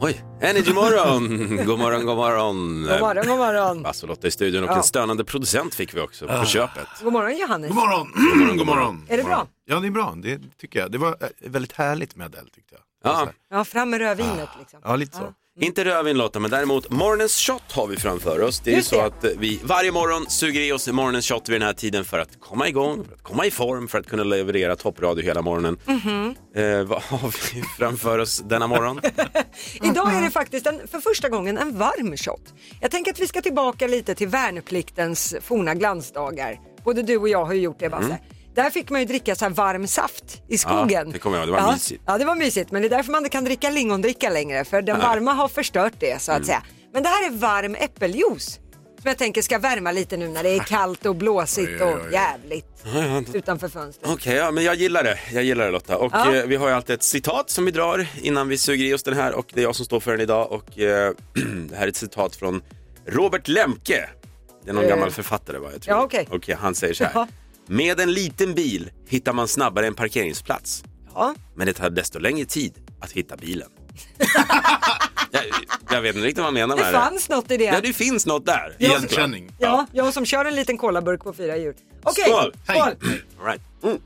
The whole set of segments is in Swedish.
Oj, Energy morgon! god morgon, god morgon. God morgon, god morgon. Basse-Lotta i studion och Ja. Ah. en stönande producent fick vi också på köpet. God morgon Johannes. God morgon! God morgon, god morgon. Är det bra? Ja, det är bra. Det tycker jag. Det var eh, väldigt härligt med Adele tyckte jag. Ja. Så här. Ja, fram med rödvinet Ah. liksom. ja lite så. Inte rödvin Lotta, men däremot morgonens shot har vi framför oss. Det är ju Just så det. att eh, vi varje morgon suger i oss morgonens shot vid den här tiden för att komma igång, för att komma i form, för att kunna leverera toppradio hela morgonen. Mhm. Eh, vad har vi framför oss denna morgon? Idag är det faktiskt en, för första gången en varm shot. Jag tänker att vi ska tillbaka lite till värnpliktens forna glansdagar. Både du och jag har ju gjort det Basse. Där fick man ju dricka så här varm saft i skogen. Mm. det kommer jag ihåg. Det var ja. mysigt. Ja, det var mysigt. Men det är därför man inte kan dricka lingondricka längre. För den varma har förstört det så att Mm. säga. Men det här är varm äppeljuice. Som jag tänker ska värma lite nu när det är kallt och blåsigt och jävligt utanför fönstret. Okej, ja, men jag gillar det. Jag gillar det Lotta. Och Ja. eh, vi har ju alltid ett citat som vi drar innan vi suger i oss den här och det är jag som står för den idag. Och eh, det här är ett citat från Robert Lemke. Det är någon Eh. gammal författare va? Jag tror Ja, det. okej. han säger så här. Ja. Med en liten bil hittar man snabbare en parkeringsplats. Ja. Men det tar desto längre tid att hitta bilen. jag, jag vet inte riktigt vad han menar Det med det. fanns något i det. Ja, det finns något där. Igenkänning. Ja, jag som kör en liten kolaburk på fyra hjul. Okej, Skål! skål! All Right. Mm.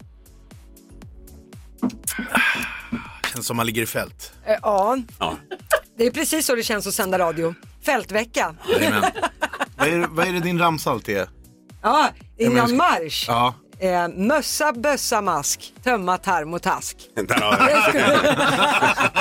Känns som man ligger i fält. Eh, Ja, Ja. det är precis så det känns att sända radio. Fältvecka. Jajamän. vad, är, vad är det din ramsa alltid är? Ja, jag innan ska- marsch. Ja. Eh, mössa, bössa, mask, tömma tarm och task. Där har vi det.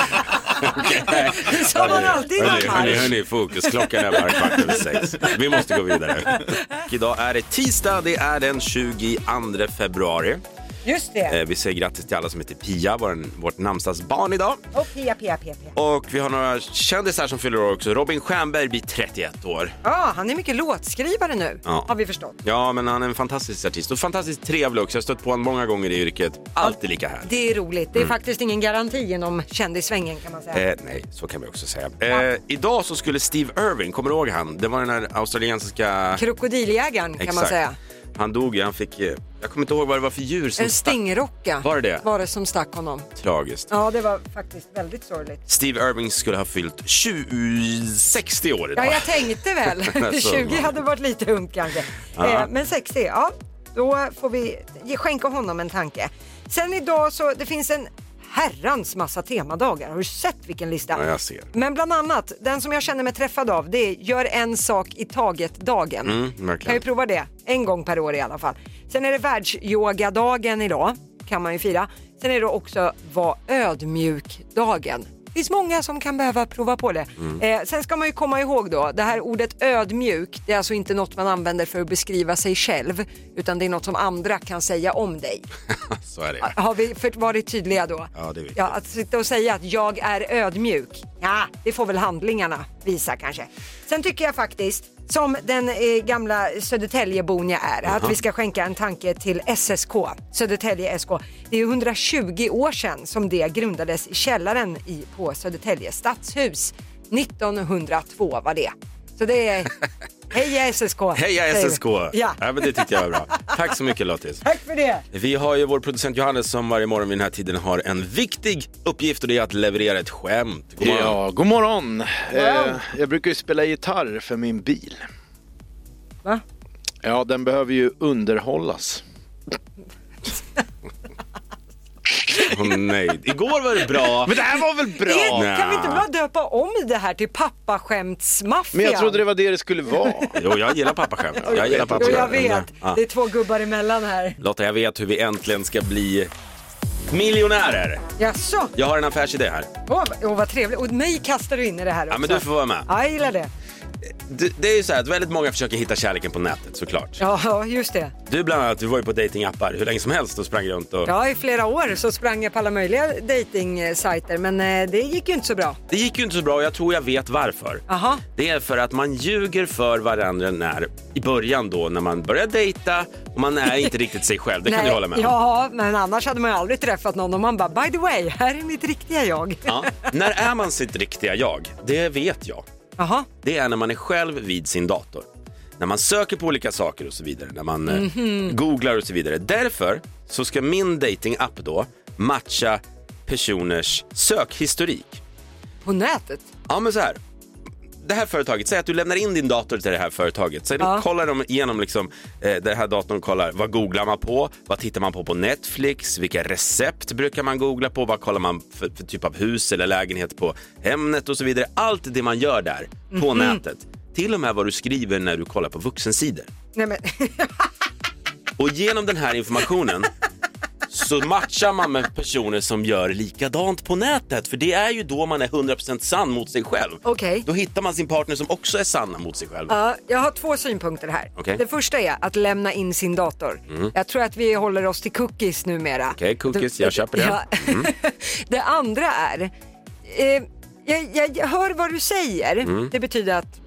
Det sa man alltid innan Hörni, hörni, marsch. hörni, fokus. Klockan är bara kvart över sex. Vi måste gå vidare. Idag är det tisdag, det är den 22 februari. Just det. Eh, Vi säger grattis till alla som heter Pia, vår, vårt namnsdagsbarn idag. Och pia, pia, pia, pia. Och vi har några kändisar som fyller år också. Robin Stjernberg blir 31 år. Ja, han är mycket låtskrivare nu, Ja. har vi förstått. Ja, men han är en fantastisk artist och fantastiskt trevlig också. Jag har stött på honom många gånger i yrket. Alltid lika härlig. Det är roligt. Det är faktiskt ingen garanti inom kändissvängen kan man säga. Mm. Eh, nej, så kan vi också säga. Eh, idag så skulle Steve Irwin, kommer du ihåg han? Det var den här australiensiska... Krokodiljägaren kan man Exakt. säga. Han dog ju, han fick, eh, jag kommer inte ihåg vad det var för djur som En stingrocka Var det det? var det som stack honom. stack. Tragiskt. Ja, det var faktiskt väldigt sorgligt. Steve Irving skulle ha fyllt 20, 60 år idag. Ja, jag tänkte väl. Alltså, 20 hade varit lite ungt kanske. Eh, Men 60, ja. Då får vi ge- skänka honom en tanke. Sen idag så, det finns en herrans massa temadagar. Har du sett vilken lista? Ja, jag ser. Men bland annat, den som jag känner mig träffad av, det är gör en sak i taget-dagen. Mm, Kan ju verkligen. prova det, en gång per år i alla fall. Sen är det världsyogadagen idag, kan man ju fira. Sen är det också var ödmjuk-dagen. Det finns många som kan behöva prova på det. Eh, sen ska man ju komma ihåg då, det här ordet ödmjuk, det är alltså inte något man använder för att beskriva sig själv, utan det är något som andra kan säga om dig. Så är det. Har vi för- varit tydliga då? Ja, det är viktigt. Ja, att sitta och säga att jag är ödmjuk, ja, det får väl handlingarna visa kanske. Sen tycker jag faktiskt, som den eh, gamla Södertäljebon jag är, att vi ska skänka en tanke till SSK, Södertälje SK. Det är 120 år sedan som det grundades i källaren i, på Södertälje stadshus. 1902 var det. Så det är heja SSK! Heja säger vi. SSK! Ja, men det tyckte jag var bra. Tack så mycket Lottis. tack för det! Vi har ju vår producent Johannes som varje morgon vid den här tiden har en viktig uppgift och det är att leverera ett skämt. God morgon. Ja, god morgon. Eh, jag brukar ju spela gitarr för min bil. Va? Ja, den behöver ju underhållas. Åh, nej. Igår var det bra. Men det här var väl bra? Är, kan vi inte bara döpa om det här till pappaskämtsmaffian? Men jag trodde det var det det skulle vara. Jo, jag gillar pappaskämt. Jag gillar Jo, pappaskämt. jag vet. Ja. Det är två gubbar emellan här. Lotta, jag vet hur vi äntligen ska bli miljonärer. Jaså? Jag har en affärsidé här. Åh, oh, vad trevligt. Och mig kastar du in i det här också. Ja, men du får vara med. Ja, jag gillar det. Det, det är ju så här att väldigt många försöker hitta kärleken på nätet såklart. Ja, just det. Du bland annat, du var ju på datingappar hur länge som helst och sprang runt och Ja, i flera år så sprang jag på alla möjliga dejtingsajter, men eh, det gick ju inte så bra. det gick ju inte så bra och jag tror jag vet varför. Aha. Det är för att man ljuger för varandra när, i början då när man börjar dejta och man är inte riktigt sig själv, det kan du hålla med om. Ja, men annars hade man ju aldrig träffat någon om man bara, by the way, här är mitt riktiga jag. Ja. När är man sitt riktiga jag? Det vet jag. Jaha, det är när man är själv vid sin dator. När man söker på olika saker och så vidare, när man eh, googlar och så vidare. Därför så ska min datingapp då matcha personers sökhistorik. på På nätet? Ja, men så här. Det här företaget, säg att du lämnar in din dator till det här företaget. Säg Ja. då kollar de igenom liksom, eh, det här datorn kollar, vad googlar man på? Vad tittar man på på Netflix? Vilka recept brukar man googla på? Vad kollar man för, för typ av hus eller lägenhet på Hemnet och så vidare. Allt det man gör där på nätet. Till och med vad du skriver när du kollar på vuxensidor. Nej men, Och genom den här informationen så matchar man med personer som gör likadant på nätet. För det är ju då man är 100% sann mot sig själv. Okej. Då hittar man sin partner som också är sanna mot sig själv. ja, jag har två synpunkter här. Okej. Mm. Det första är att lämna in sin dator. Jag tror att vi håller oss till cookies numera. Okej, cookies, jag köper det. Mm. Ja. det andra är, eh, jag, jag, jag hör vad du säger. Mm. Det betyder att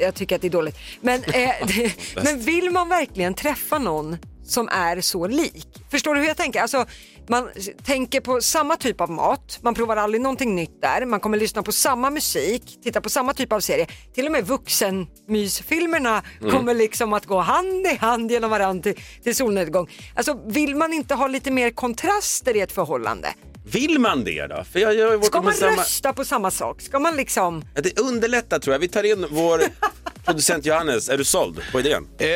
jag tycker att det är dåligt. Men, eh, det, men vill man verkligen träffa någon som är så lik? Förstår du hur jag tänker? Alltså, man s- tänker på samma typ av mat, man provar aldrig någonting nytt där, man kommer lyssna på samma musik, titta på samma typ av serie. Till och med vuxenmysfilmerna kommer liksom att gå hand i hand genom varandra till, till solnedgång. Alltså, vill man inte ha lite mer kontraster i ett förhållande? Vill man det då? För jag, jag har ju varit Ska med man samma- rösta på samma sak? Ska man liksom... Ja, Det underlättar tror jag. Vi tar in vår producent Johannes. Är du såld på idén? Eh,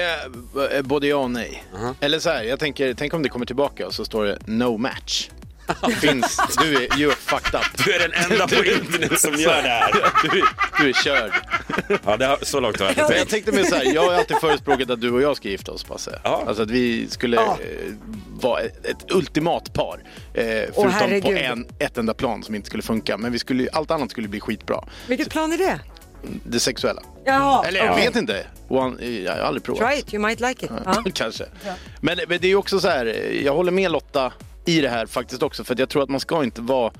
b- eh, både ja och nej. Uh-huh. Eller så här, jag tänker, tänk om det kommer tillbaka och så står det no match. Finns, du är you are fucked up. Du är den enda på internet som gör det här. Du, du är körd. Ja, det har, så långt har jag inte Men jag tänkt. tänkte mer så här, jag har alltid förespråkat att du och jag ska gifta oss Basse. Ja. Alltså att vi skulle eh, vara ett, ett ultimat par. Eh, förutom på herregud. en, ett enda plan som inte skulle funka. Men vi skulle, allt annat skulle bli skitbra. Vilket plan är det? Det sexuella. Jaha, Eller jag vet inte. One, eh, jag har aldrig provat. Try it, you might like it. Ja. Kanske. Men, men det är ju också så här, eh, jag håller med Lotta i det här faktiskt också. För att jag tror att man ska inte vara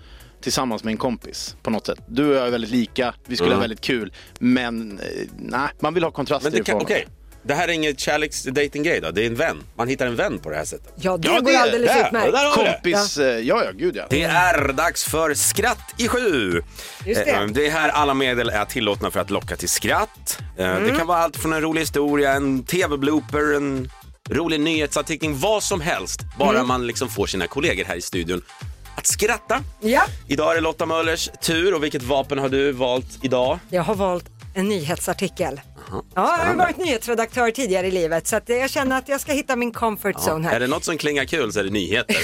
tillsammans med en kompis på något sätt. Du och jag är väldigt lika, vi skulle ha väldigt kul. Men eh, nej, man vill ha kontraster Mm. Men det, i kan, förhållandet. okej. det här är inget kärleks-dating-grej då? Det är en vän? Man hittar en vän på det här sättet? Ja, det Ja, går det- alldeles där, utmärkt. där har vi det. Kompis, eh, ja ja, gud ja. Det är dags för Skratt i sju! Just det. Eh, det är här alla medel är tillåtna för att locka till skratt. Eh, Det Mm. kan vara allt från en rolig historia, en tv-blooper, en rolig nyhetsartikel, vad som helst. Bara Mm. man liksom får sina kollegor här i studion att skratta. Ja. Idag är det Lotta Möllers tur och vilket vapen har du valt idag? Jag har valt en nyhetsartikel. Ja, jag har varit nyhetsredaktör tidigare i livet så att jag känner att jag ska hitta min comfort zone Är här. det något som klingar kul så är det nyheter.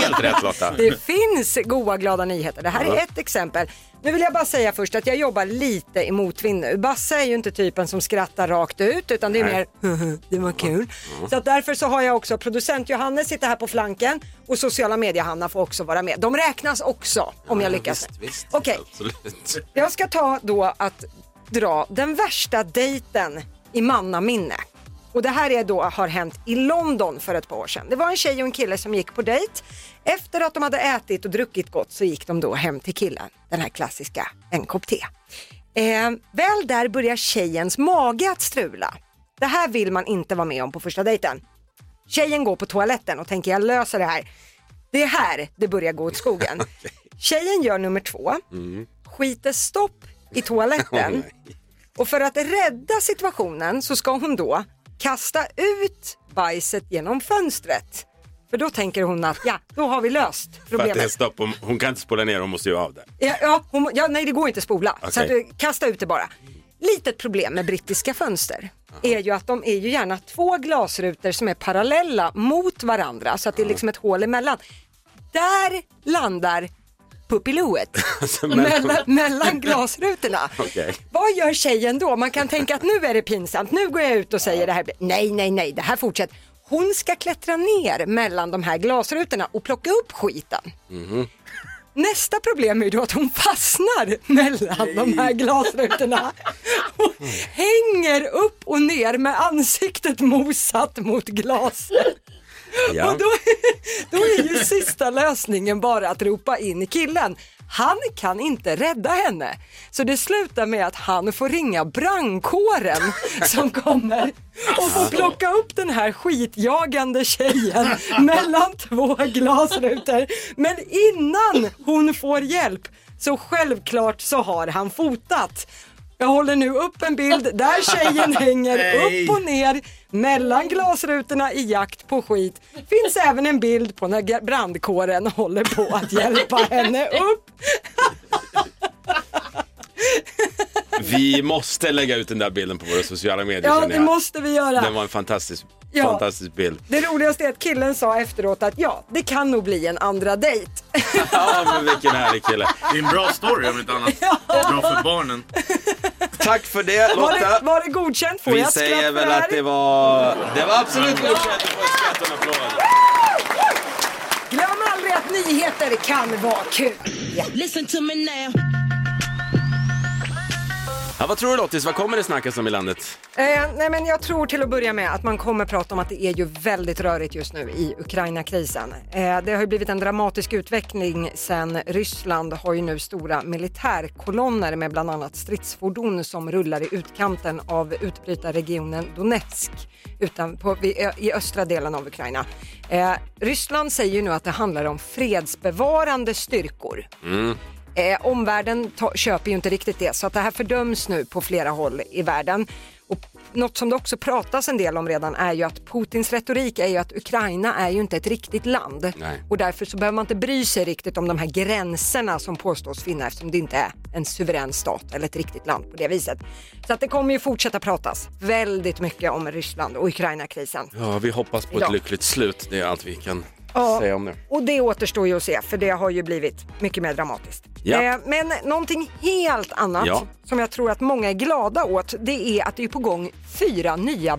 Helt rätt Lotta. Det finns goa glada nyheter. Det här är ett exempel. Nu vill jag bara säga först att jag jobbar lite i motvind nu. Basse är ju inte typen som skrattar rakt ut utan det är Nej. mer det var kul. Så att därför så har jag också producent Johannes sitter här på flanken och sociala medier Hanna får också vara med. De räknas också om jag lyckas. Visst, visst. Okej, Absolut. Jag ska ta då att dra den värsta dejten i mannaminne. Och det här är då, har hänt i London för ett par år sedan. Det var en tjej och en kille som gick på dejt. Efter att de hade ätit och druckit gott så gick de då hem till killen. Den här klassiska, en kopp te. Eh, väl där börjar tjejens mage att strula. Det här vill man inte vara med om på första dejten. Tjejen går på toaletten och tänker jag löser det här. Det är här det börjar gå åt skogen. Tjejen gör nummer två, Mm. skiter stopp i toaletten och för att rädda situationen så ska hon då kasta ut bajset genom fönstret. För då tänker hon att ja, då har vi löst För att det är problemet. stopp, hon, hon kan inte spola ner, hon måste ju av det. Ja, ja, hon, ja, nej det går inte att spola. Så Okej. att du, kasta ut det bara. Litet problem med brittiska fönster är ju att de är ju gärna två glasrutor som är parallella mot varandra så att det är liksom ett hål emellan. Där landar puppilooet Alltså, men- mellan, mellan glasrutorna. Okej. Vad gör tjejen då? Man kan tänka att nu är det pinsamt, nu går jag ut och säger det här. Nej, nej, nej, det här fortsätter. Hon ska klättra ner mellan de här glasrutorna och plocka upp skiten. Mhm. Nästa problem är ju då att hon fastnar mellan de här glasrutorna. Hon hänger upp och ner med ansiktet mosat mot glaset. Ja. Och då, då är ju sista lösningen bara att ropa in killen. Han kan inte rädda henne. Så det slutar med att han får ringa brandkåren som kommer och får plocka upp den här skitjagande tjejen mellan två glasrutor. Men innan hon får hjälp så självklart så har han fotat. Jag håller nu upp en bild där tjejen hänger upp och ner mellan glasrutorna i jakt på skit. Finns även en bild på när brandkåren håller på att hjälpa henne upp. Vi måste lägga ut den där bilden på våra sociala medier Ja, känner det jag. måste vi göra. Den var en fantastisk, Ja. fantastisk bild. Det roligaste är att killen sa efteråt att ja, det kan nog bli en andra dejt. Ja, men vilken härlig kille. Det är en bra story om inte annat. Bra för barnen. Tack för det Var det, Lotta. var det godkänt? Får Vi jag ett skratt säger för väl det här? att det var... Det var absolut godkänt. Du får ett skratt och en applåd. Glöm aldrig att nyheter kan vara kul. Listen to me now. Ja, vad tror du Lottis, vad kommer det snackas om i landet? Eh, nej men jag tror till att börja med att man kommer prata om att det är ju väldigt rörigt just nu i Ukraina-krisen. Eh, det har ju blivit en dramatisk utveckling sen Ryssland har ju nu stora militärkolonner med bland annat stridsfordon som rullar i utkanten av utbrytarregionen Donetsk utan på, i, i östra delen av Ukraina. Eh, Ryssland säger ju nu att det handlar om fredsbevarande styrkor. Eh, omvärlden ta- köper ju inte riktigt det så att det här fördöms nu på flera håll i världen. Och något som det också pratas en del om redan är ju att Putins retorik är ju att Ukraina är ju inte ett riktigt land Nej. och därför så behöver man inte bry sig riktigt om de här gränserna som påstås finnas eftersom det inte är en suverän stat eller ett riktigt land på det viset. Så att det kommer ju fortsätta pratas väldigt mycket om Ryssland och Ukraina-krisen. Ja, vi hoppas på ett Ja. lyckligt slut. Det är allt vi kan Ja. säga om det. Och det återstår ju att se för det har ju blivit mycket mer dramatiskt. Ja. Eh, Men någonting helt annat Ja. som jag tror att många är glada åt det är att det är på gång fyra nya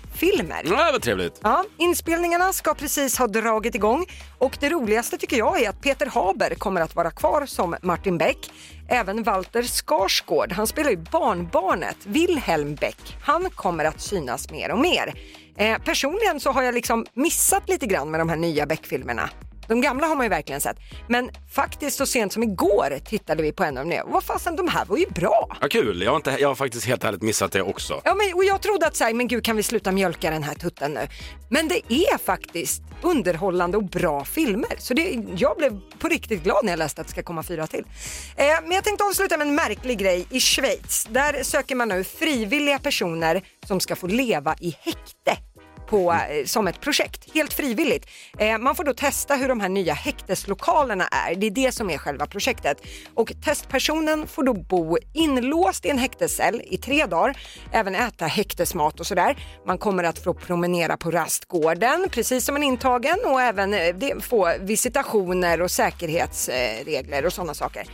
Beck-filmer. Ja, vad trevligt. Ja, inspelningarna ska precis ha dragit igång och det roligaste tycker jag är att Peter Haber kommer att vara kvar som Martin Beck. Även Walter Skarsgård, han spelar ju barnbarnet Wilhelm Beck, han kommer att synas mer och mer. Eh, personligen så har jag liksom missat lite grann med de här nya Beck-filmerna. De gamla har man ju verkligen sett, men faktiskt så sent som igår tittade vi på en av dem nu. Vad fasen, de här var ju bra! Ja, kul. Jag har, inte, jag har faktiskt helt ärligt missat det också. Ja, men, och jag trodde att så här, men gud kan vi sluta mjölka den här tutten nu? Men det är faktiskt underhållande och bra filmer. Så det, jag blev på riktigt glad när jag läste att det ska komma fyra till. Eh, men jag tänkte avsluta med en märklig grej i Schweiz. Där söker man nu frivilliga personer som ska få leva i häkte på, eh, som ett projekt, helt frivilligt. Eh, man får då testa hur de här nya häkteslokalerna är. Det är det som är själva projektet. Och testpersonen får då bo inlåst i en häktescell i tre dagar, även äta häktesmat och sådär. Man kommer att få promenera på rastgården, precis som en intagen och även eh, det, få visitationer och säkerhetsregler och sådana saker.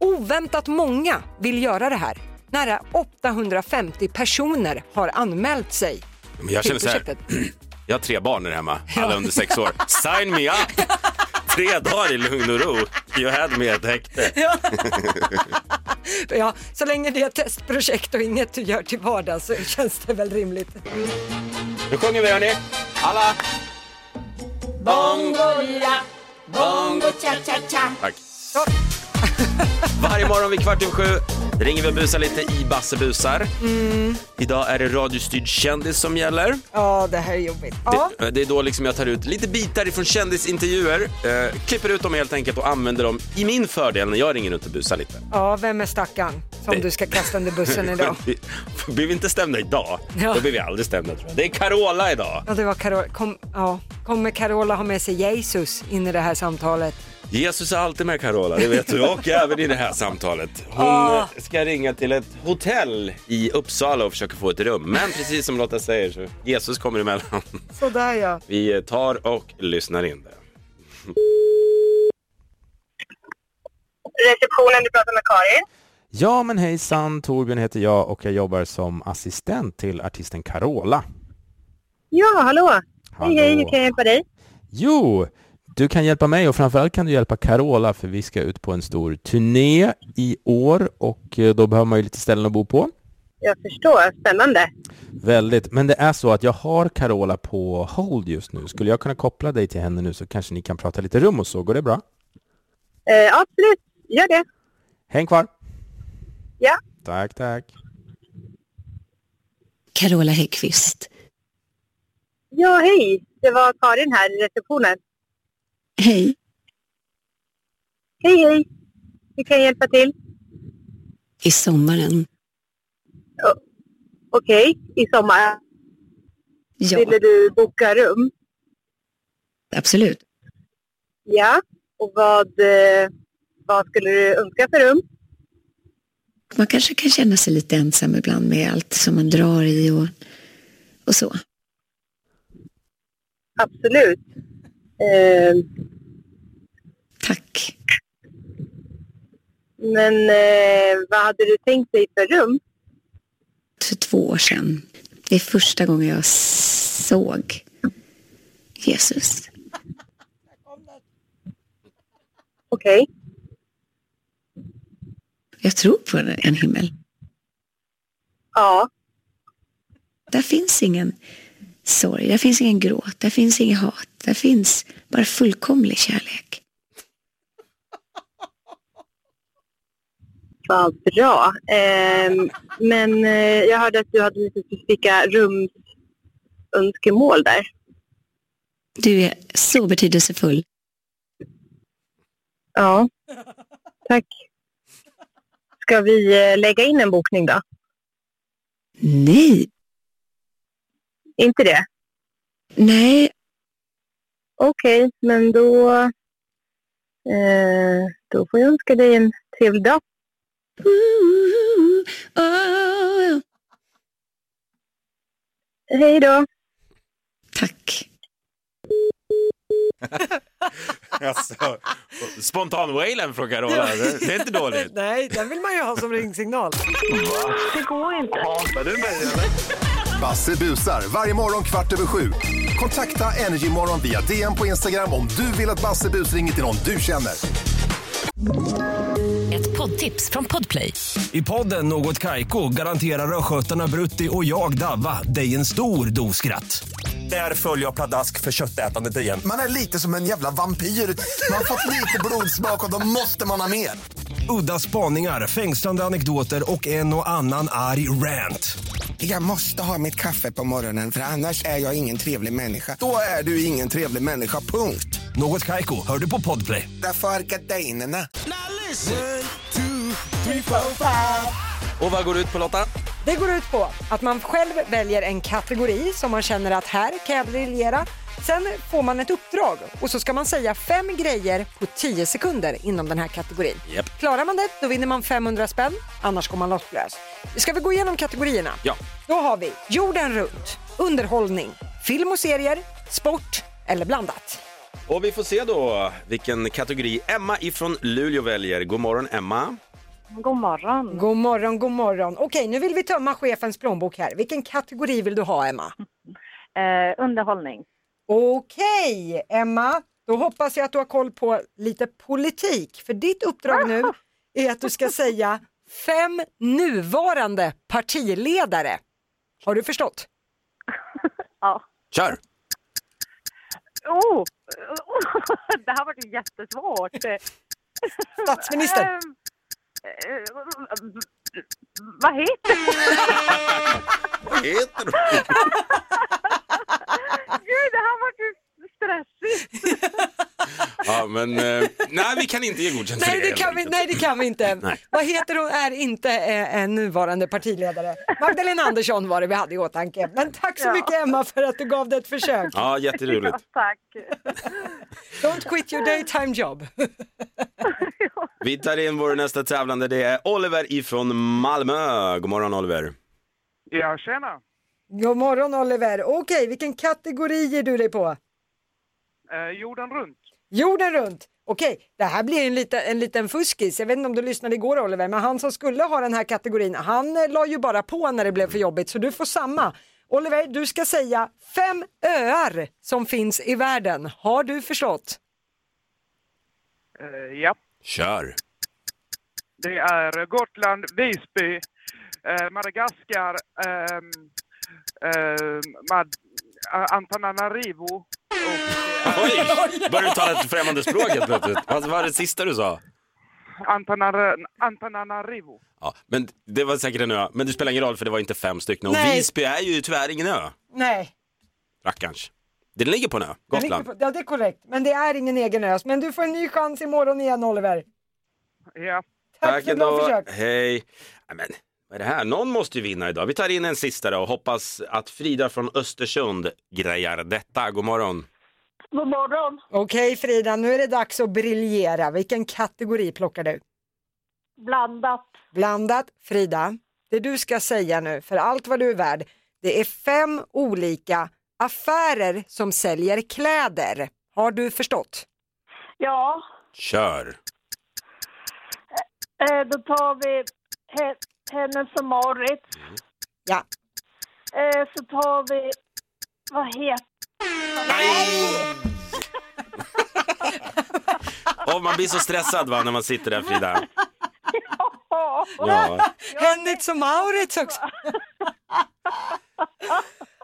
Oväntat många vill göra det här. Nära 850 personer har anmält sig Men jag till känner så här, projektet. jag har tre barn här hemma, alla under sex år. Sign me up! Tre dagar i lugn och ro. You had me at häkte. Ja, så länge det är ett testprojekt och inget du gör till vardags så känns det väl rimligt. Nu sjunger vi hörni. Alla! Tack. Varje morgon vid kvart över sju ringer vi och busar lite i Bassebusar. Mm. Idag är det radiostyrd kändis som gäller. Ja, det här är jobbigt. Ja. Det, det är då liksom jag tar ut lite bitar ifrån kändisintervjuer, eh, klipper ut dem helt enkelt och använder dem i min fördel när jag ringer runt och busar lite. ja, vem är stackaren som Det- du ska kasta under bussen idag? Vi- Blir vi inte stämda idag, Ja. då blir vi aldrig stämda tror jag. Det är Carola idag. Ja, det var Carola. Kom, ja. Kommer Carola ha med sig Jesus in i det här samtalet? Jesus är alltid med Carola, det vet du. Och även i det här samtalet. Hon Ah. eh, ska ringa till ett hotell i Uppsala och försöka få ett rum. Men precis som Lotta säger så Jesus kommer emellan. Sådär ja. Vi tar och lyssnar in det. receptionen, du pratar med Karin. Ja men hejsan, Torbjörn heter jag och jag jobbar som assistent till artisten Carola. Ja, hallå. Hallå. Hej, hej, hur kan jag hjälpa dig? Jo, du kan hjälpa mig och framförallt kan du hjälpa Carola för vi ska ut på en stor turné i år och eh, då behöver man ju lite ställen att bo på. Jag förstår, spännande. Väldigt, men det är så att jag har Carola på hold just nu. Skulle jag kunna koppla dig till henne nu så kanske ni kan prata lite rum och så, går det bra? Eh, absolut, gör det. Häng kvar! Ja. Tack, tack. Carola Häggkvist. Ja, hej. Det var Karin här i receptionen. Hej. Hej, hej. Hur kan jag hjälpa till? I sommaren. Okej, i sommar Ja, ville du boka rum. absolut. Ja, och vad, eh, vad skulle du önska för rum? Man kanske kan känna sig lite ensam ibland med allt som man drar i och, och så. Absolut. Eh, Tack. men eh, vad hade du tänkt dig för rum? För två år sedan. Det är första gången jag såg Jesus. Okej. Jag tror på en- en himmel. Ja. Där finns ingen sorg, där finns ingen gråt, där finns inget hat. Där finns bara fullkomlig kärlek. Vad bra. Ehm, men eh, jag hörde att du hade lite specifika rumsönskemål där. Du är så betydelsefull. Ja. Tack. Ska vi eh, lägga in en bokning då? Nej, Inte det? nej, Okej, men då, eh, då får jag önska dig en trevlig dag. Ooh, oh. Hej då! Tack. Alltså, Spontan-wailen från Carola, det det är inte dåligt. Nej, den vill man ju ha som ringsignal. Basse busar varje morgon kvart över sju. Kontakta Energymorgon via DM på Instagram om du vill att Basse bus ringer till någon du känner. Ett poddtips från Podplay. I podden Något Kaiko garanterar östgötarna Brutti och jag, Davva, dig en stor dos skratt. Där följer jag pladask för köttätandet igen. Man är lite som en jävla vampyr. Man har fått lite blodsmak och då måste man ha mer. Udda spaningar, fängslande anekdoter och en och annan arg rant. Jag måste ha mitt kaffe på morgonen för annars är jag ingen trevlig människa. Då är du ingen trevlig människa, punkt. Något Kaiko, hör du på Podplay. Därför är gardinerna. Och vad går det ut på Lotta? Det går ut på att man själv väljer en kategori som man känner att här kan jag briljera. Sen får man ett uppdrag och så ska man säga fem grejer på 10 sekunder inom den här kategorin. Japp. Klarar man det, då vinner man 500 spänn, annars går man lottlös. Ska vi gå igenom kategorierna? Ja. Då har vi jorden runt, underhållning, film och serier, sport eller blandat. Och vi får se då vilken kategori Emma ifrån Luleå väljer. God morgon Emma. God morgon. God morgon, god morgon. Okej, nu vill vi tömma chefens plånbok här. Vilken kategori vill du ha, Emma? Eh, underhållning. Okej, Emma. Då hoppas jag att du har koll på lite politik. För ditt uppdrag nu är att du ska säga fem nuvarande partiledare. Har du förstått? Ja. Kör! Oh. Det här var ju jättesvårt. Statsminister. Ehm, eh, vad heter det? Vad heter du? Gud, det här var ju stressigt. Ja, men eh, nej, vi kan inte ge godkänt för Nej det, helt kan vi, enkelt. nej, det kan vi inte. Nej. Vad heter hon? Är inte eh, en nuvarande partiledare. Magdalena Andersson var det vi hade i åtanke. Men tack så Ja. mycket Emma för att du gav det ett försök. Ja, jätteroligt. Tack. Don't quit your daytime job. Vi tar in vår nästa tävlande. Det är Oliver ifrån Malmö. God morgon Oliver. Ja, tjena. God morgon Oliver. Okej, vilken kategori ger du dig på? Eh, jorden runt. Jorden runt. Okej, det här blir en liten, en liten fuskis. Jag vet inte om du lyssnade igår Oliver, men han som skulle ha den här kategorin, han eh, la ju bara på när det blev för jobbigt, så du får samma. Oliver, du ska säga fem öar som finns i världen. Har du förstått? Eh, ja, Kör! det är Gotland, Visby, eh, Madagaskar, ehm, eh, Antananarivo. Oj! Börjar du tala ett främmande språk helt plötsligt? Vad vad var det sista du sa? Antananarivo. Ja, men det var säkert en ö. Men det spelar ingen roll för det var inte fem stycken. Och Nej. Visby är ju tyvärr ingen ö. Nej. Rackarns. Den ligger på en ö. det ligger Gotland. på- Ja, det är korrekt. Men det är ingen egen ös. Men du får en ny chans imorgon igen Oliver. Ja. Tack, för ett bra försök. Hej. Nej, Men, vad är det här? Någon måste ju vinna idag. Vi tar in en sista då och hoppas att Frida från Östersund grejar detta. God morgon. God morgon. Okej Frida, nu är det dags att briljera. Vilken kategori plockar du? Blandat. Blandat. Frida, det du ska säga nu, för allt vad du är värd, det är fem olika affärer som säljer kläder. Har du förstått? Ja, Kör. eh, då tar vi He- Hennes och Mauritz. Ja. Eh, så tar vi, vad heter Åh, man blir så stressad va, när man sitter där Frida. Ja. Henrik och Maurits också.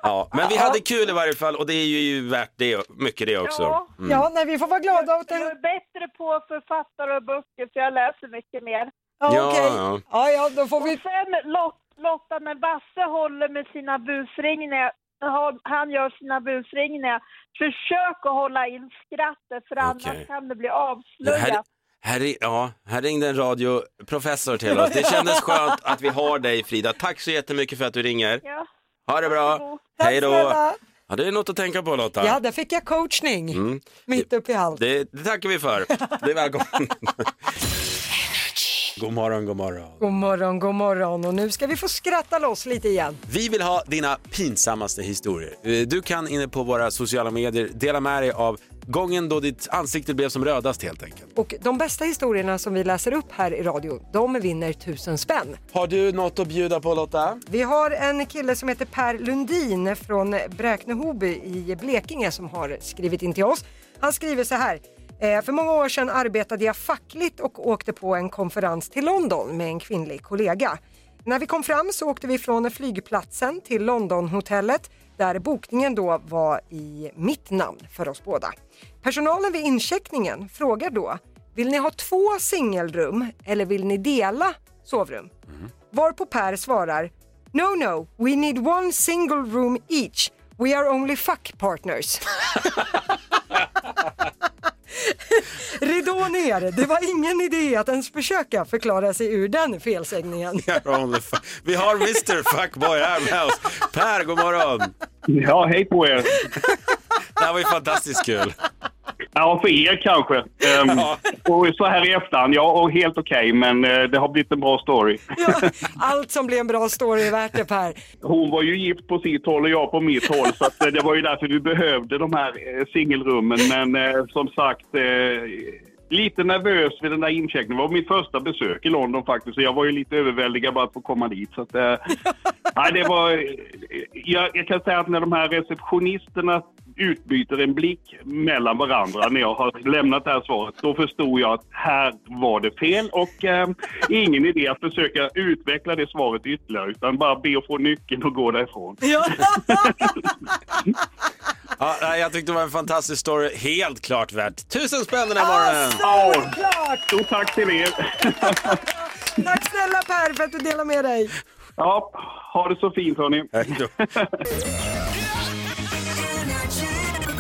Ja, men vi hade kul i varje fall och det är ju värt det, mycket det också. Mm. Ja, nej, vi får vara glada åt Jag är bättre på författare och böcker för jag läser mycket mer. Ja, okej. ja. ja, då får vi... Och sen Lot, Lotta, när Basse håller med sina busringningar, har- han gör sina busringningar, försök att hålla in skrattet för annars kan det bli Det Här, avslöjat. här, ri- ja, här ringde en radioprofessor till oss. Det kändes skönt att vi har dig Frida. Tack så jättemycket för att du ringer. Ja. Ha det bra. Hej då. Ja, det är något att tänka på Lotta. Ja, där fick jag coachning Mm. mitt upp i allt. Det, det tackar vi för. Det är välkommen. god morgon, god morgon. God morgon, god morgon och nu ska vi få skratta loss lite igen. Vi vill ha dina pinsammaste historier. Eh, Du kan inne på våra sociala medier dela med dig av gången då ditt ansikte blev som rödast helt enkelt. Och de bästa historierna som vi läser upp här i radio, de vinner tusen spänn. Har du något att bjuda på Lotta? Vi har en kille som heter Per Lundin från Bräkne-Hoby i Blekinge som har skrivit in till oss. Han skriver så här. "Eh, För många år sedan arbetade jag fackligt och åkte på en konferens till London med en kvinnlig kollega. När vi kom fram så åkte vi från flygplatsen till Londonhotellet där bokningen då var i mitt namn för oss båda. Personalen vid incheckningen frågar då, vill ni ha två singelrum eller vill ni dela sovrum? Varpå Per svarar No, no, we need one single room each. We are only fuck partners. Ridå ner, det var ingen idé att ens försöka förklara sig ur den felsägningen. Vi har Mr Fuckboy här med oss. Per, god morgon. Ja, hej på er. Det här var ju fantastiskt kul. Ja, för er kanske. Ehm, och så här i efterhand, ja, och helt okej, men eh, det har blivit en bra story. Allt som blir en bra story är värt det Per. Hon var ju gift på sitt håll och jag på mitt håll, så att, eh, det var ju därför vi behövde de här eh, singelrummen. Men eh, som sagt, eh, lite nervös vid den där incheckningen. Det var mitt första besök i London faktiskt, så jag var ju lite överväldigad bara att få komma dit. Så att, eh, nej, det var, eh, jag, jag kan säga att när de här receptionisterna utbyter en blick mellan varandra när jag har lämnat det här svaret, då förstod jag att här var det fel och eh, ingen idé att försöka utveckla det svaret ytterligare utan bara be att få nyckeln och gå därifrån. Ja, nej, jag tyckte det var en fantastisk story. Helt klart värt tusen spänn den här morgonen. Såklart! Stort tack till er! Tack snälla Per för att du delar med dig. Ja, ha det så fint hörni!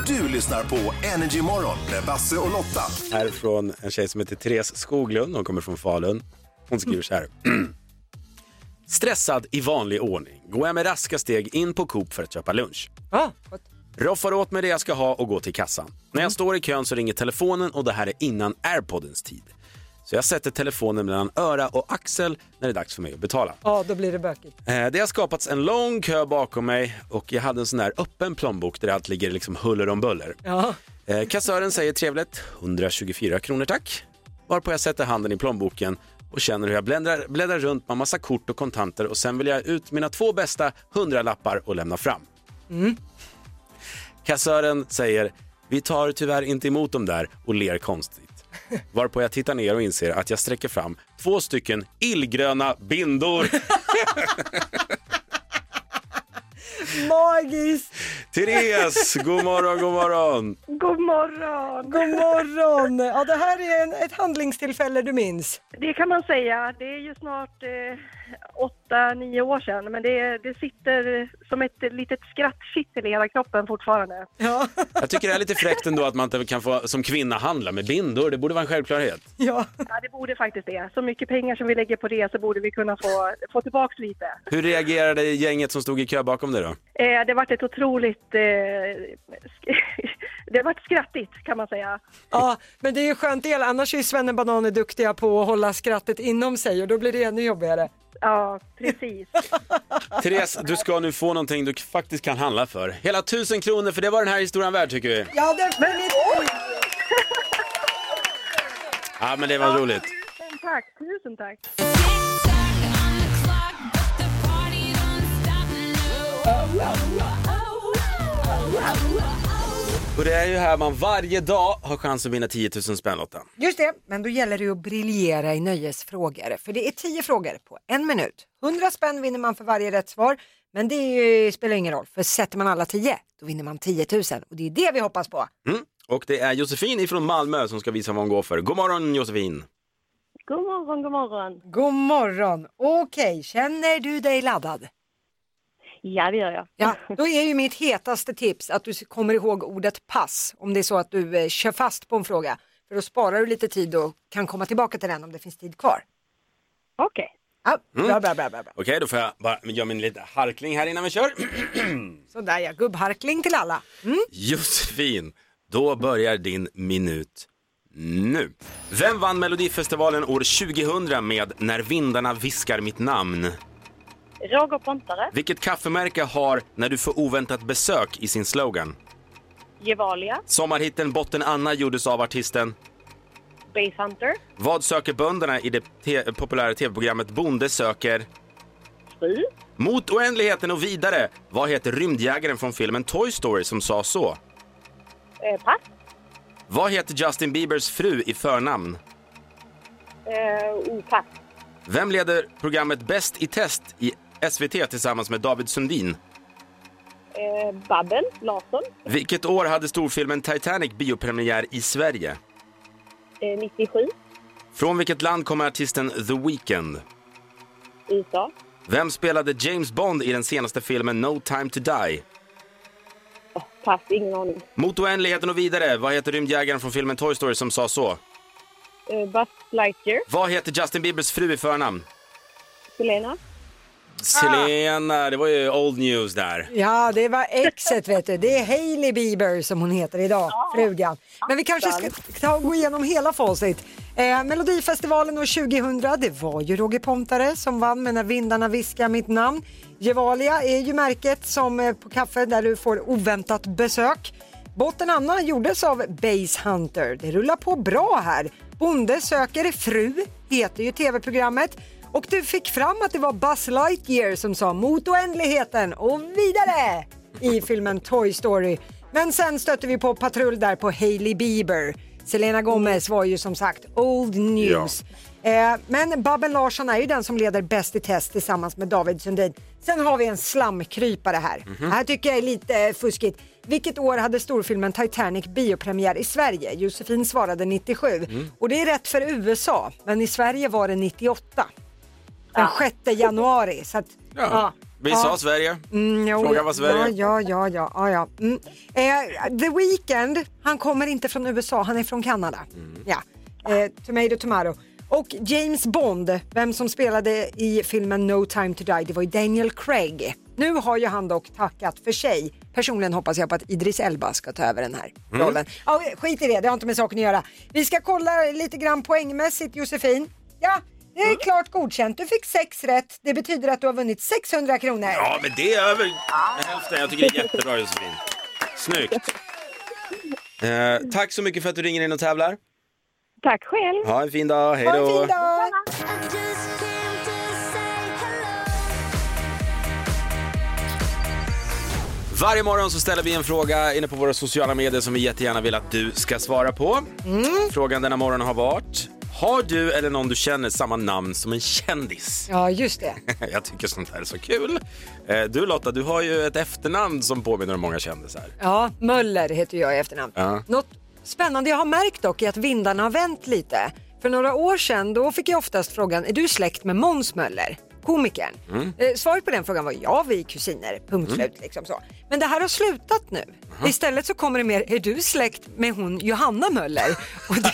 Du lyssnar på Energy Morgon med Basse och Lotta. Här från en tjej som heter Therese Skoglund. Hon kommer från Falun. Hon skriver så här. Stressad i vanlig ordning går jag med raska steg in på Coop för att köpa lunch. Roffar åt mig det jag ska ha och går till kassan. När jag står i kön så ringer telefonen och det här är innan airpoddens tid. Så jag sätter telefonen mellan öra och axel när det är dags för mig att betala. Ja, då blir det bökigt. Eh, Det har skapats en lång kö bakom mig och jag hade en sån här öppen plånbok där allt ligger liksom huller om buller. Ja. Eh, Kassören säger trevligt 124 kronor tack. Varpå jag sätter handen i plånboken och känner hur jag bläddrar, bläddrar runt med massa kort och kontanter och sen vill jag ut mina två bästa hundralappar och lämna fram. Mm. Kassören säger vi tar tyvärr inte emot dem där och ler konstigt. Varpå jag tittar ner och inser att jag sträcker fram två stycken illgröna bindor. Magiskt! Therese, god morgon, god morgon. God morgon! God morgon! Ja, det här är en, ett handlingstillfälle du minns. Det kan man säga. Det är ju snart eh, åtta, nio år sedan men det, det sitter som ett litet skrattkitt i hela kroppen fortfarande. Jag tycker det är lite fräckt ändå att man inte kan få som kvinna handla med bindor. Det borde vara en självklarhet. Ja. det borde faktiskt det. Så mycket pengar som vi lägger på det så borde vi kunna få, få tillbaks lite. Hur reagerade gänget som stod i kö bakom dig då? Eh, det varit ett otroligt eh, sk- det har varit skrattigt kan man säga. Ja, men det är ju skönt del. Annars är ju svennebanan duktiga på att hålla skrattet inom sig och då blir det ännu jobbigare. Ja, precis. Therese, du ska nu få någonting du faktiskt kan handla för. Hela tusen kronor, för det var den här historien värd tycker vi. Ja, definitivt. Ja, men det var roligt. Tusen tack, tusen tack. Och det är ju här man varje dag har chans att vinna 10 000 spänn Lotta. Just det, men då gäller det att briljera i nöjesfrågor. För det är tio frågor på en minut. 100 spänn vinner man för varje rätt svar. Men det är ju, spelar ingen roll, för sätter man alla tio, då vinner man 10 000. Och det är det vi hoppas på. Mm. Och det är Josefin ifrån Malmö som ska visa vad hon går för. God morgon Josefin! God morgon, god morgon. God morgon! Okej, känner du dig laddad? Ja, det gör jag. Ja, då är ju mitt hetaste tips att du kommer ihåg ordet pass om det är så att du eh, kör fast på en fråga. För då sparar du lite tid och kan komma tillbaka till den om det finns tid kvar. Okej. Ja, bra, bra, bra, bra, bra. Okej, då får jag bara göra min lilla harkling här innan vi kör. Sådär ja, gubbharkling till alla. Mm. Josefin, då börjar din minut nu. Vem vann Melodifestivalen år 2000 med När vindarna viskar mitt namn? Roger Pontare, Vilket kaffemärke har När du får oväntat besök i sin slogan? Gevalia, Sommarhitten Botten Anna gjordes av artisten Base Hunter, Vad söker bönderna i det te- populära tv-programmet Bonde söker? Fru, Mot oändligheten och vidare. Vad heter rymdjägaren från filmen Toy Story som sa så? eh, Pass, Vad heter Justin Biebers fru i förnamn? eh, oh, Pass, Vem leder programmet Bäst i test i SVT tillsammans med David Sundin? eh, Babbel, Larsson, Vilket år hade storfilmen Titanic biopremiär i Sverige? eh, 97, Från vilket land kommer artisten The Weeknd? USA, Vem spelade James Bond i den senaste filmen No time to die? Pass, ingen aning. Mot oändligheten och vidare. Vad heter rymdjägaren från filmen Toy Story som sa så? Eh, Buzz Lightyear, Vad heter Justin Biebers fru i förnamn? Selena, Selena, det var ju old news där. Ja, det var exet vet du. Det är Hailey Bieber som hon heter idag, frugan. Men vi kanske ska ta och gå igenom hela facit. Eh, Melodifestivalen år 2000, det var ju Roger Pontare som vann med När vindarna viskar mitt namn. Gevalia är ju märket som eh, på kaffe där du får oväntat besök. Botten Anna gjordes av Base Hunter. Det rullar på bra här. Bonde söker fru heter ju tv-programmet. Och du fick fram att det var Buzz Lightyear som sa mot oändligheten och vidare i filmen Toy Story. Men sen stötte vi på patrull där på Hailey Bieber. Selena Gomez var ju som sagt old news. Eh, men Babben Larsson är ju den som leder Bäst i test tillsammans med David Sundin. Sen har vi en slamkrypare här. Mhm. Här tycker jag är lite eh, fuskigt. Vilket år hade storfilmen Titanic biopremiär i Sverige? Josefin svarade 97. Mm. Och det är rätt för USA, men i Sverige var det 98. Den 6 januari. Så att, Ja. Vi sa Sverige. Mm, jo, Frågan var Sverige. Ja, ja, ja. ja, ja. Mm. Eh, The Weeknd, han kommer inte från USA, han är från Kanada. Ja. Eh, tomato, tomato. Och James Bond, vem som spelade i filmen No time to die, det var ju Daniel Craig. Nu har ju han dock tackat för sig. Personligen hoppas jag på att Idris Elba ska ta över den här Mm. rollen. Ja, skit i det, det har inte med saken att göra. Vi ska kolla lite grann poängmässigt Josefin. Ja, det är klart godkänt. Du fick sex rätt. Det betyder att du har vunnit 600 kronor. Ja, men det är över hälften. Jag tycker det är jättebra Josefin. Snyggt. Eh, tack så mycket för att du ringer in och tävlar. Tack själv. Ha en fin dag. Hej då. Varje morgon så ställer vi en fråga inne på våra sociala medier som vi jättegärna vill att du ska svara på. Frågan denna morgon har varit. Har du eller någon du känner samma namn som en kändis? Ja, just det. Jag tycker sånt här är så kul. Eh, Du Lotta, du har ju ett efternamn som påminner om många kändisar. Ja, Möller heter jag i efternamn. Ja. Något spännande jag har märkt dock är att vindarna har vänt lite. För några år sedan då fick jag oftast frågan, är du släkt med Måns Möller? komikern. Mm. Eh, Svaret på den frågan var ja, vi är kusiner, punkt Mm. slut. Liksom så. Men det här har slutat nu. Istället så kommer det mer, är du släkt med hon Johanna Möller? Och det,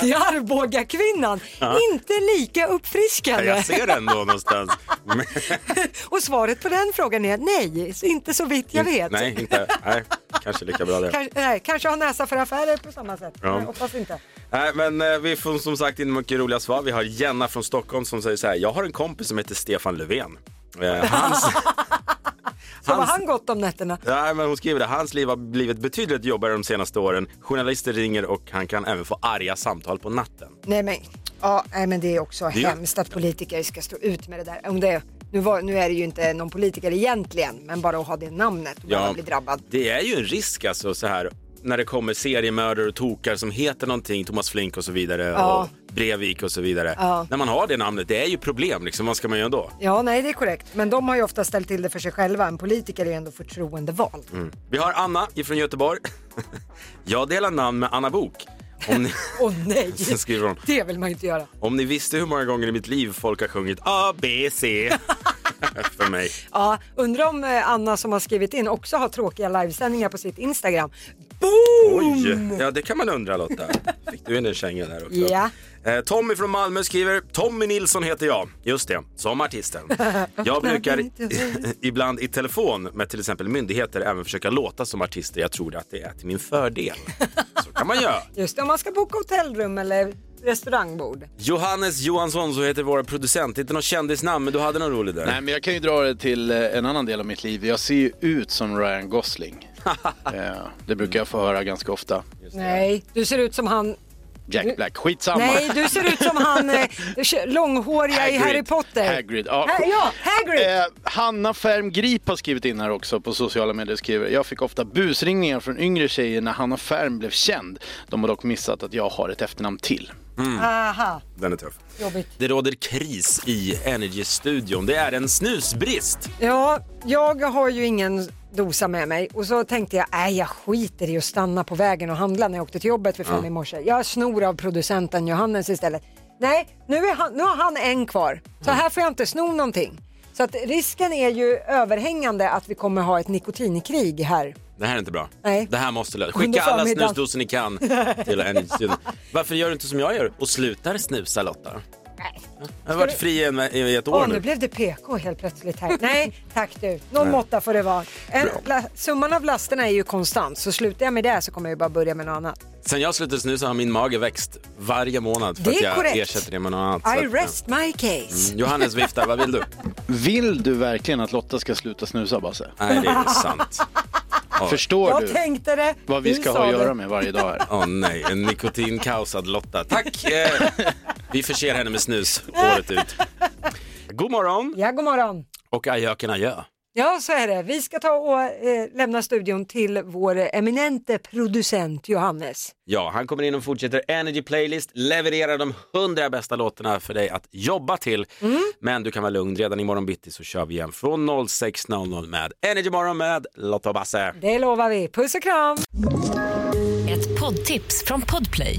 det är Arboga kvinnan. Ja. Inte lika uppfriskande. Jag ser den då någonstans. Men- Och svaret på den frågan är nej, inte så vitt jag vet. Nej, inte. Nej, kanske lika bra det. Kanske, nej, kanske har näsa för affärer på samma sätt. Ja. Jag hoppas inte. Nej, men eh, vi får som sagt in mycket roliga svar. Vi har Jenna från Stockholm som säger så här. Jag har en kompis som heter Stefan Löfven. Eh, hans, Så har Hans- han gått om nätterna. nej, men hon skriver det. Hans liv har blivit betydligt jobbigare de senaste åren. Journalister ringer och han kan även få arga samtal på natten. Nej men, ja, nej, men det är också Det är- hemskt att politiker ska stå ut med det där. Om det, nu, var, nu är det ju inte någon politiker egentligen, men bara att ha det namnet och bara bli drabbad. Det är ju en risk alltså så här när det kommer seriemördare och tokar som heter någonting, Thomas Flink och så vidare Ja. och Brevik och så vidare. Ja. När man har det namnet, det är ju problem liksom. Vad ska man göra då? Ja, nej det är korrekt. Men de har ju ofta ställt till det för sig själva. En politiker är ju ändå förtroendevald. Mm. Vi har Anna ifrån Göteborg. Jag delar namn med Anna Bok. Om ni, Åh nej, sen skriver hon, det vill man ju inte göra. om ni visste hur många gånger i mitt liv folk har sjungit A, B, C för mig. Ja, undrar om eh, Anna som har skrivit in också har tråkiga livesändningar på sitt Instagram. Boom! Oj! Ja, det kan man undra Lotta. Fick du in en känga där också? Ja. Eh, Tommy från Malmö skriver, Tommy Nilsson heter jag. Just det, som artisten. Jag brukar i- ibland i telefon med till exempel myndigheter även försöka låta som artister. Jag tror att det är till min fördel. Så kan man göra. Just det, om man ska boka hotellrum eller restaurangbord. Johannes Johansson, så heter vår producent. Inte någon kändisnamn, men du hade någon rolig där. Nej, men jag kan ju dra det till eh, en annan del av mitt liv. Jag ser ju ut som Ryan Gosling. Eh, det brukar jag få höra ganska ofta. Nej, du ser ut som han... Jack Black, skitsamma. Nej, du ser ut som han eh, långhåriga i Hagrid. Harry Potter. Hagrid, ja. Ha- ja, Hagrid. Eh, Hanna Färm Grip har skrivit in här också på sociala medier. Skriver, jag fick ofta busringningar från yngre tjejer när Hanna Färm blev känd. De har dock missat att jag har ett efternamn till. Aha, Den är tuff. jobbigt. Det råder kris i Energy-studion. Det är en snusbrist. Ja, jag har ju ingen dosa med mig och så tänkte jag, nej jag skiter i att stanna på vägen och handla när jag åkte till jobbet vid fem Ja. i morse. Jag snor av producenten Johannes istället. Nej, nu, är han, nu har han en kvar, så här får jag inte sno någonting. Så att risken är ju överhängande att vi kommer ha ett nikotinkrig här. Det här är inte bra. Nej. Det här måste lösas. Under Skicka alla förmiddagen. snusdosor ni kan till Energy-studion. Varför gör du inte som jag gör och slutar snusa Lotta? Nej. Jag har varit fri i en- i ett år Åh, nu nu. blev det PK helt plötsligt här. Nej, tack du. Någon Nej. måtta får det vara. En, la, summan av lasterna är ju konstant, så slutar jag med det så kommer jag ju bara börja med något annat. Sen jag slutade snusa har min mage växt varje månad för Det är att jag korrekt. ersätter det med något annat. Så I att, rest my case. Mm. Johannes viftar, vad vill du? Vill du verkligen att Lotta ska sluta snusa, Basse? Nej, det är sant. Ja. Förstår jag du? tänkte det. Vad vi Du ska sa ha att det. göra med varje dag här. Åh nej, en nikotinkaosad Lotta. Tack! Eh, vi förser henne med snus året ut. God morgon Ja, god morgon. och ajöken adjö. Ja, så är det. Vi ska ta och eh, lämna studion till vår eminente producent Johannes. Ja, han kommer in och fortsätter Energy Playlist, levererar de hundra bästa låtarna för dig att jobba till. Men du kan vara lugn, redan imorgon bitti så kör vi igen från 06.00 med Energy Morgon med Lotta och Basse. Det lovar vi. Puss och kram! Ett poddtips från Podplay.